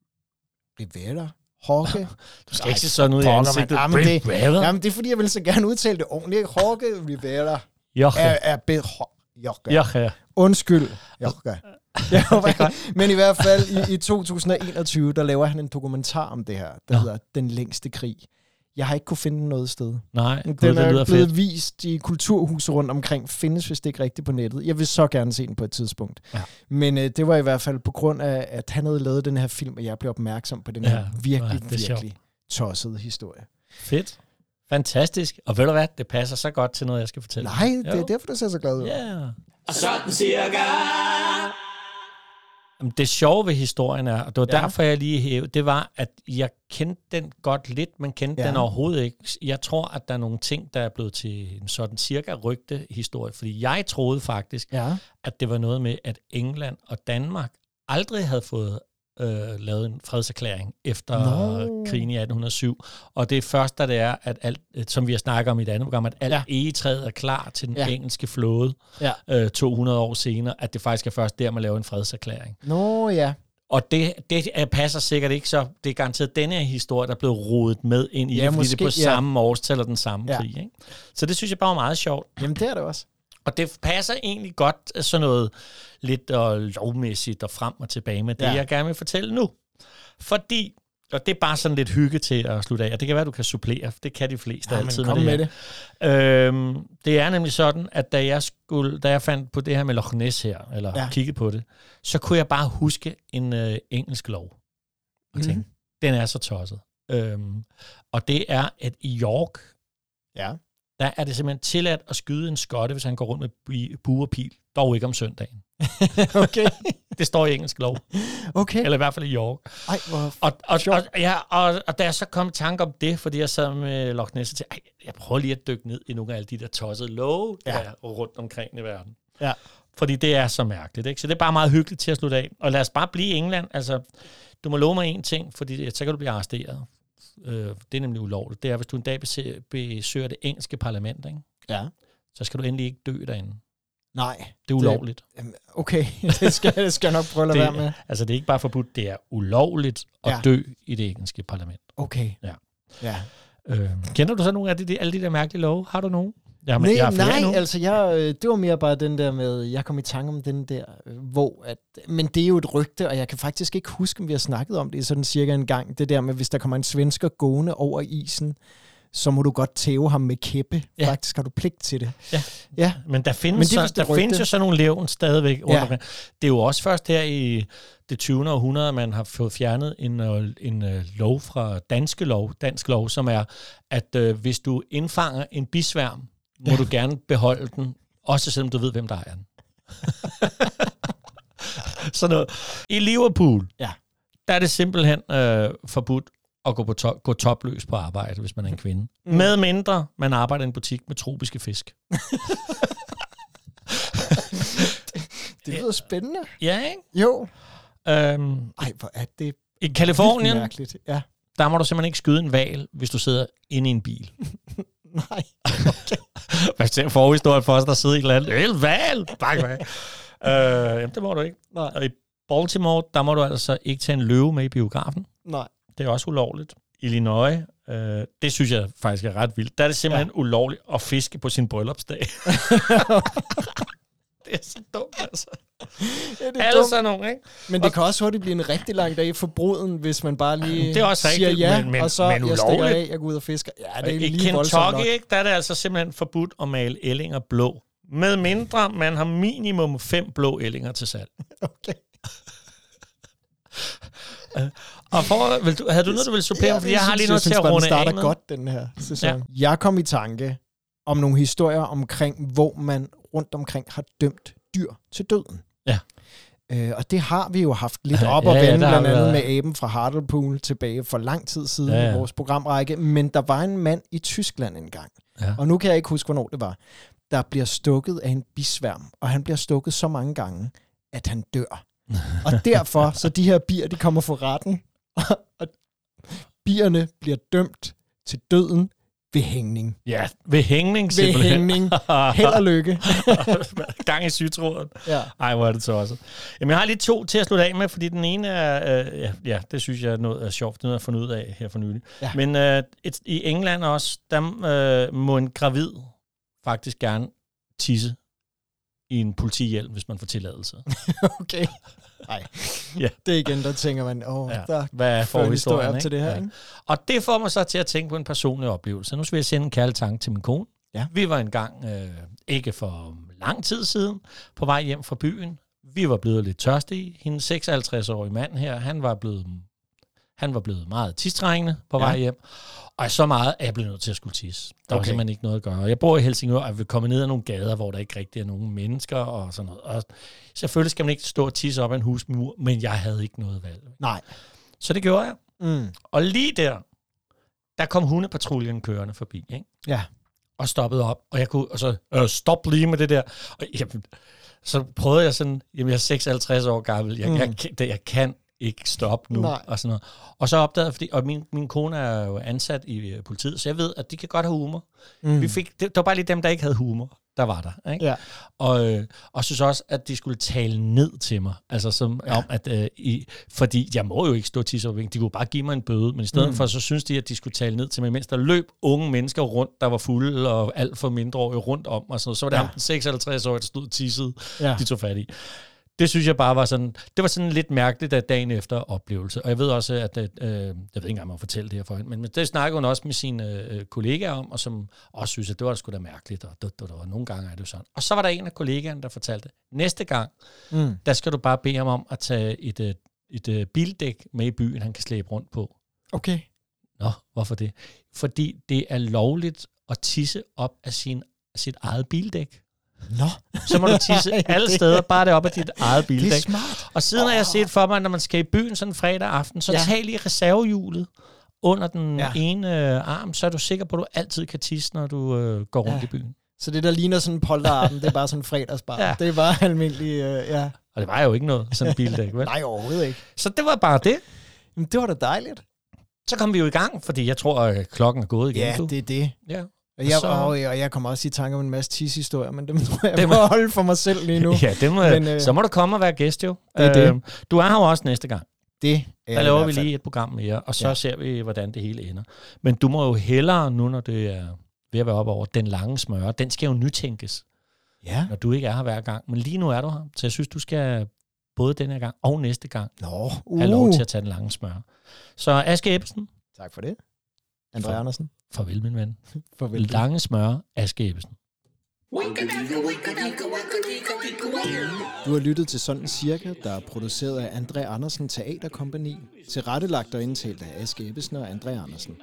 [SPEAKER 1] Rivera. Jorge.
[SPEAKER 2] Du skal ikke se sådan ud i
[SPEAKER 1] Pokker, mand.
[SPEAKER 2] ansigtet.
[SPEAKER 1] Jamen, det-
[SPEAKER 2] Brave.
[SPEAKER 1] Jamen, det er fordi, jeg vil så gerne udtale det ordentligt. Jorge Rivera
[SPEAKER 2] Joche.
[SPEAKER 1] er, er bedre. Jorge.
[SPEAKER 2] Joche. ja.
[SPEAKER 1] Undskyld, Jorge. Jeg håber- Men i hvert fald i, i 2021, der laver han en dokumentar om det her, der
[SPEAKER 2] Nå.
[SPEAKER 1] hedder Den længste krig. Jeg har ikke kunne finde den noget sted.
[SPEAKER 2] Nej,
[SPEAKER 1] Den
[SPEAKER 2] gud, det
[SPEAKER 1] er
[SPEAKER 2] lyder
[SPEAKER 1] blevet
[SPEAKER 2] fedt.
[SPEAKER 1] vist i kulturhuse rundt omkring, findes vist ikke rigtigt på nettet. Jeg vil så gerne se den på et tidspunkt.
[SPEAKER 2] Ja.
[SPEAKER 1] Men øh, det var i hvert fald på grund af, at han havde lavet den her film, og jeg blev opmærksom på den
[SPEAKER 2] Ja,
[SPEAKER 1] her virkelig,
[SPEAKER 2] ja, det er sjovt.
[SPEAKER 1] virkelig tossede historie.
[SPEAKER 2] Fedt. Fantastisk. Og ved du hvad, det passer så godt til noget, jeg skal fortælle.
[SPEAKER 1] Nej, det er
[SPEAKER 2] Jo.
[SPEAKER 1] derfor, du ser så glad ud.
[SPEAKER 2] Ja.
[SPEAKER 3] Og sådan cirka.
[SPEAKER 2] Jamen, Det sjove ved historien er, og det var
[SPEAKER 1] Ja.
[SPEAKER 2] ja. derfor, jeg lige hævde, det var, at jeg kendte den godt lidt, men kendte
[SPEAKER 1] Ja.
[SPEAKER 2] ja. den overhovedet ikke. Jeg tror, at der er nogle ting, der er blevet til en sådan cirka rygte historie, fordi jeg troede faktisk,
[SPEAKER 1] Ja.
[SPEAKER 2] at det var noget med, at England og Danmark aldrig havde fået øh, lavet en fredserklæring efter
[SPEAKER 1] Nå.
[SPEAKER 2] no. krigen i 1807. Og det er først, da det er, at alt, øh, som vi har snakket om i et andet program, at alt
[SPEAKER 1] Ja.
[SPEAKER 2] ja. egetræet er klar til den
[SPEAKER 1] Ja.
[SPEAKER 2] ja. engelske flåde
[SPEAKER 1] Ja.
[SPEAKER 2] øh, 200 år senere, at det faktisk er først der, man laver en fredserklæring.
[SPEAKER 1] Nå ja.
[SPEAKER 2] Og det, det er- passer sikkert ikke, så det er garanteret denne her historie, der er blevet rodet med ind i
[SPEAKER 1] Ja,
[SPEAKER 2] ja, det, fordi
[SPEAKER 1] måske,
[SPEAKER 2] det er på
[SPEAKER 1] ja.
[SPEAKER 2] samme årstal og den samme
[SPEAKER 1] Ja.
[SPEAKER 2] ja. krig. Ikke? Så det synes jeg bare var meget sjovt.
[SPEAKER 1] Jamen, det er det også.
[SPEAKER 2] Og det passer egentlig godt øh, sådan noget lidt og lovmæssigt og frem og tilbage med det,
[SPEAKER 1] Ja.
[SPEAKER 2] ja. jeg gerne vil fortælle nu. Fordi, og det er bare sådan lidt hygge til at slutte af, og det kan være, du kan supplere, for det kan de fleste
[SPEAKER 1] Jamen,
[SPEAKER 2] altid.
[SPEAKER 1] kom
[SPEAKER 2] her.
[SPEAKER 1] med det.
[SPEAKER 2] Øhm, det er nemlig sådan, at da jeg, skulle, da jeg fandt på det her med Loch Ness her, eller
[SPEAKER 1] Ja.
[SPEAKER 2] ja. kiggede på det, så kunne jeg bare huske en øh, engelsk lov. Og tænkte,
[SPEAKER 1] Mhm.
[SPEAKER 2] den er så tosset. Øhm, og det er, at i York,
[SPEAKER 1] Ja.
[SPEAKER 2] der er det simpelthen tilladt at skyde en skotte, hvis han går rundt med bi- bue og pil. Dog ikke om søndagen.
[SPEAKER 1] Okay.
[SPEAKER 2] Det står i engelsk lov,
[SPEAKER 1] Okay.
[SPEAKER 2] eller i hvert fald i York.
[SPEAKER 1] Ej, hvor...
[SPEAKER 2] Og, og, og, ja, og, og da jeg så kom i tanke om det, fordi jeg sad med Loch Ness, så tænkte jeg, "Ej, jeg prøver lige at dykke ned i nogle af de der tossede love, ja. der
[SPEAKER 1] Ja.
[SPEAKER 2] er rundt omkring i verden.
[SPEAKER 1] Ja.
[SPEAKER 2] Fordi det er så mærkeligt, ikke? Så det er bare meget hyggeligt til at slutte af. Og lad os bare blive i England. Altså, du må love mig en ting, fordi så kan du blive arresteret. Øh, det er nemlig ulovligt. Det er, hvis du en dag bese- besøger det engelske parlament, ikke?
[SPEAKER 1] Ja.
[SPEAKER 2] så skal du endelig ikke dø derinde.
[SPEAKER 1] Nej.
[SPEAKER 2] Det er ulovligt.
[SPEAKER 1] Jamen, Okay, det skal, det skal jeg nok prøve at lade
[SPEAKER 2] Det-
[SPEAKER 1] være med.
[SPEAKER 2] Altså, det er ikke bare forbudt, det er ulovligt at
[SPEAKER 1] Ja.
[SPEAKER 2] ja. dø i det engelske parlament.
[SPEAKER 1] Okay.
[SPEAKER 2] Ja.
[SPEAKER 1] Ja.
[SPEAKER 2] Øh, kender du så nogle af de, de, alle de der mærkelige love? Har du nogen?
[SPEAKER 1] Jamen, nej,
[SPEAKER 2] Jamen, jeg har flere
[SPEAKER 1] nej,
[SPEAKER 2] nu.
[SPEAKER 1] altså jeg, øh, det var mere bare den der med, jeg kom i tanke om den der, øh, hvor at, men det er jo et rygte, og jeg kan faktisk ikke huske, om vi har snakket om det sådan cirka en gang, det der med, hvis der kommer en svensker gående over isen, så må du godt tæve ham med kæppe. Ja.
[SPEAKER 2] Ja.
[SPEAKER 1] Faktisk har du pligt til det.
[SPEAKER 2] Ja.
[SPEAKER 1] Ja,
[SPEAKER 2] Men der findes,
[SPEAKER 1] Men
[SPEAKER 2] Men
[SPEAKER 1] det er
[SPEAKER 2] så,
[SPEAKER 1] vist et
[SPEAKER 2] der
[SPEAKER 1] rygte.
[SPEAKER 2] findes jo sådan nogle levn stadigvæk. Rundt
[SPEAKER 1] Ja.
[SPEAKER 2] ja. Det er jo også først her i det 20. århundrede, man har fået fjernet en, øh, en øh, lov fra danske lov, dansk lov, som er, at øh, hvis du indfanger en bisværm, må ja. du gerne beholde den, også selvom du ved, hvem der ejer den. sådan noget. I Liverpool,
[SPEAKER 1] Ja.
[SPEAKER 2] der er det simpelthen øh, forbudt at gå, på to- gå topløs på arbejde, hvis man er en kvinde. Mm. Med mindre man arbejder i en butik med tropiske fisk.
[SPEAKER 1] det lyder spændende.
[SPEAKER 2] Ja, ikke?
[SPEAKER 1] Jo.
[SPEAKER 2] Øhm,
[SPEAKER 1] Ej, hvor er det
[SPEAKER 2] I
[SPEAKER 1] vildt
[SPEAKER 2] Kalifornien,
[SPEAKER 1] mærkeligt. Ja,
[SPEAKER 2] der må du simpelthen ikke skyde en val, hvis du sidder inde i en bil.
[SPEAKER 1] nej.
[SPEAKER 2] Hvad ser forhistorien for os, der sidder i et eller andet? El val! Bak, bak. øh, jamen, det må du ikke.
[SPEAKER 1] Nej.
[SPEAKER 2] Og i Baltimore, der må du altså ikke tage en løve med i biografen.
[SPEAKER 1] Nej.
[SPEAKER 2] Det er også ulovligt. Illinois, øh, det synes jeg faktisk er ret vildt. Der er det simpelthen ja. ulovligt at fiske på sin bryllupsdag. det er så dumt, altså.
[SPEAKER 1] Ja, det er
[SPEAKER 2] Alle
[SPEAKER 1] dumt.
[SPEAKER 2] sådan nogle, ikke?
[SPEAKER 1] Men det kan også hurtigt blive en rigtig lang dag for bruden, hvis man bare lige
[SPEAKER 2] Det er også
[SPEAKER 1] siger
[SPEAKER 2] rigtigt,
[SPEAKER 1] ja,
[SPEAKER 2] men- men-
[SPEAKER 1] og så
[SPEAKER 2] men
[SPEAKER 1] jeg stikker
[SPEAKER 2] ulovligt.
[SPEAKER 1] af, jeg går ud og fisker. Ja, det er
[SPEAKER 2] I
[SPEAKER 1] lige voldsomt nok.
[SPEAKER 2] Kentucky, ikke, der er det altså simpelthen forbudt at male ellinger blå. Med mindre man har minimum fem blå ellinger til salg.
[SPEAKER 1] Okay.
[SPEAKER 2] Øh, Og for, vil du, havde du noget, du ville supplere? Fordi jeg har lige noget til at
[SPEAKER 1] bare, den
[SPEAKER 2] runde af
[SPEAKER 1] starter
[SPEAKER 2] med.
[SPEAKER 1] godt, den her sæson. Ja. Jeg kom i tanke om nogle historier omkring, hvor man rundt omkring har dømt dyr til døden.
[SPEAKER 2] Ja.
[SPEAKER 1] Øh, og det har vi jo haft lidt op
[SPEAKER 2] Ja,
[SPEAKER 1] og
[SPEAKER 2] ja,
[SPEAKER 1] vende,
[SPEAKER 2] der har
[SPEAKER 1] blandt
[SPEAKER 2] vi
[SPEAKER 1] andet med
[SPEAKER 2] været-
[SPEAKER 1] aben fra Hartlepool tilbage for lang tid siden ja,
[SPEAKER 2] Ja,
[SPEAKER 1] ja.
[SPEAKER 2] ja.
[SPEAKER 1] i vores programrække. Men der var en mand i Tyskland engang,
[SPEAKER 2] Ja.
[SPEAKER 1] og nu kan jeg ikke huske, hvornår det var, der bliver stukket af en bisværm, og han bliver stukket så mange gange, at han dør. Og derfor, så de her bier, de kommer for retten, og bierne bliver dømt til døden ved hængning.
[SPEAKER 2] Ja, ved hængning
[SPEAKER 1] Ved
[SPEAKER 2] simpelthen.
[SPEAKER 1] hængning. Held og lykke.
[SPEAKER 2] Gang i sygtråden.
[SPEAKER 1] Ja.
[SPEAKER 2] Ej, hvor er det tosset. Jamen, jeg har lige to til at slutte af med, fordi den ene er... Øh, ja, ja, det synes jeg er noget er sjovt. Det er noget, jeg har fundet ud af her for nylig.
[SPEAKER 1] Ja.
[SPEAKER 2] Ja. Men øh, et, i England også, der øh, må en gravid faktisk gerne tisse i en politihjelm, hvis man får tilladelse.
[SPEAKER 1] Okay. Nej,
[SPEAKER 2] Ja.
[SPEAKER 1] ja. det er igen, der tænker man, åh,
[SPEAKER 2] Ja.
[SPEAKER 1] ja. der
[SPEAKER 2] Hvad er
[SPEAKER 1] får en historie
[SPEAKER 2] forhistorien?
[SPEAKER 1] op
[SPEAKER 2] ikke?
[SPEAKER 1] til det her,
[SPEAKER 2] Ja.
[SPEAKER 1] ja. ikke?
[SPEAKER 2] Og det får mig så til at tænke på en personlig oplevelse. Nu skal jeg sende en kærlig tanke til min kone.
[SPEAKER 1] Ja.
[SPEAKER 2] Vi var engang, øh, ikke for lang tid siden, på vej hjem fra byen. Vi var blevet lidt tørstige. Hendes 56-årige mand her, han var blevet, han var blevet meget tistrængende på vej
[SPEAKER 1] Ja.
[SPEAKER 2] hjem. Og så meget, at jeg blev nødt til at skulle tisse. Der okay. var
[SPEAKER 1] Okay.
[SPEAKER 2] simpelthen ikke noget at gøre. Jeg bor i Helsingør, og vi kommer ned ad nogle gader, hvor der ikke rigtig er nogen mennesker og sådan noget. Og selvfølgelig skal man ikke stå og tisse op ad en husmur, men jeg havde ikke noget valg.
[SPEAKER 1] Nej.
[SPEAKER 2] Så det gjorde jeg.
[SPEAKER 1] Mm.
[SPEAKER 2] Og lige der, der kom hundepatruljen kørende forbi, ikke?
[SPEAKER 1] Ja.
[SPEAKER 2] Og stoppede op, og jeg kunne, og så, øh, stop lige med det der. Og jamen, så prøvede jeg sådan, jamen jeg er 56 år gammel, jeg, mm.
[SPEAKER 1] Mm.
[SPEAKER 2] jeg, kan- det, jeg kan ikke stoppe nu, Nej.
[SPEAKER 1] Nej.
[SPEAKER 2] og sådan noget. Og så opdagede jeg, fordi, og min, min kone er jo ansat i øh, politiet, så jeg ved, at de kan godt have humor. Mm. Vi fik, det, det var bare lige dem, der ikke havde humor, der var der, ikke?
[SPEAKER 1] Ja.
[SPEAKER 2] og, øh, og synes også, at de skulle tale ned til mig. Altså som ja. om, at øh, i, fordi jeg må jo ikke stå og tisse over vinken. De kunne bare give mig en bøde, men i stedet mm. for, så synes de, at de skulle tale ned til mig, mens der løb unge mennesker rundt, der var fulde og alt for mindreårige rundt om og sådan noget. Så var det ja.
[SPEAKER 1] Ja.
[SPEAKER 2] ham den 56 år, der stod og tissede, ja.
[SPEAKER 1] Ja.
[SPEAKER 2] de tog fat i. Det synes jeg bare var sådan, det var sådan lidt mærkeligt af dagen efter oplevelse. Og jeg ved også, at, at øh, jeg ved ikke engang, om jeg fortælle det her for hende, men, men det snakkede hun også med sine øh, kollegaer om, og som også synes, at det var sgu da mærkeligt, og, det, det, og nogle gange er det jo sådan. Og så var der en af kollegaerne, der fortalte, næste gang,
[SPEAKER 1] Mm.
[SPEAKER 2] der skal du bare bede ham om at tage et, øh, et, et bildæk med i byen, han kan slæbe rundt på.
[SPEAKER 1] Okay.
[SPEAKER 2] Nå, hvorfor det? Fordi det er lovligt at tisse op af sin, sit eget bildæk.
[SPEAKER 1] Nå,
[SPEAKER 2] Så må du tisse alle steder, bare det op af dit eget
[SPEAKER 1] det er
[SPEAKER 2] bildæk.
[SPEAKER 1] smart.
[SPEAKER 2] Og siden har jeg set for mig, at når man skal i byen sådan fredag aften, så ja.
[SPEAKER 1] Ja.
[SPEAKER 2] tag lige reservehjulet under den ja.
[SPEAKER 1] Ja.
[SPEAKER 2] ene øh, arm, så er du sikker på, at du altid kan tisse, når du øh, går rundt ja.
[SPEAKER 1] Ja.
[SPEAKER 2] i byen.
[SPEAKER 1] Så det, der ligner sådan en polterarten, det er bare sådan en fredagsbar.
[SPEAKER 2] Ja.
[SPEAKER 1] Ja. Det er bare almindelig, øh, ja.
[SPEAKER 2] Og det var jo ikke noget, sådan en bildæk, vel?
[SPEAKER 1] Nej, overhovedet ikke.
[SPEAKER 2] Så det var bare det.
[SPEAKER 1] Men det var da dejligt.
[SPEAKER 2] Så kom vi jo i gang, fordi jeg tror, at klokken er gået igen.
[SPEAKER 1] Ja,
[SPEAKER 2] du.
[SPEAKER 1] det er det.
[SPEAKER 2] Ja.
[SPEAKER 1] Og jeg,
[SPEAKER 2] Så-
[SPEAKER 1] så... og, og jeg kommer også i tanke om en masse tishistorier, men dem tror jeg,
[SPEAKER 2] Dem-
[SPEAKER 1] jeg må holde for mig selv lige nu.
[SPEAKER 2] Ja, det må,
[SPEAKER 1] Men,
[SPEAKER 2] øh,
[SPEAKER 1] øh,
[SPEAKER 2] så må du komme og være gæst jo.
[SPEAKER 1] Det er det.
[SPEAKER 2] Øhm, Du er her jo også næste gang.
[SPEAKER 1] Det er
[SPEAKER 2] Der
[SPEAKER 1] i
[SPEAKER 2] laver
[SPEAKER 1] hvert
[SPEAKER 2] vi
[SPEAKER 1] fald-
[SPEAKER 2] lige et program mere, og så ja.
[SPEAKER 1] Ja.
[SPEAKER 2] ser vi, hvordan det hele ender. Men du må jo hellere, nu når det er ved at være op over, den lange smøre, den skal jo nytænkes,
[SPEAKER 1] Ja.
[SPEAKER 2] når du ikke er her hver gang. Men lige nu er du her, så jeg synes, du skal både denne her gang og næste gang
[SPEAKER 1] Nå,
[SPEAKER 2] have lov
[SPEAKER 1] uh.
[SPEAKER 2] til at tage den lange smøre. Så Aske Ebbesen,
[SPEAKER 1] Tak for det. André
[SPEAKER 2] For-
[SPEAKER 1] Andersen.
[SPEAKER 2] farvel min ven.
[SPEAKER 1] Farvel.
[SPEAKER 2] Lange smøre, Aske Ebbesen.
[SPEAKER 1] Du har lyttet til Sådan Cirka, der er produceret af André Andersen Teaterkompagni, tilrettelagt og indtalt af Aske Ebbesen og André Andersen.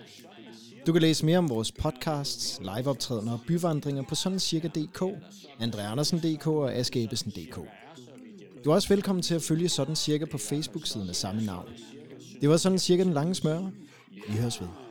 [SPEAKER 1] Du kan læse mere om vores podcasts, liveoptrædener og byvandringer på sådancirka.dk, andreandersen.dk og askeebbesen.dk. Du er også velkommen til at følge Sådan Cirka på Facebook-siden af samme navn. Det var Sådan Cirka den lange smør. Vi høres ved.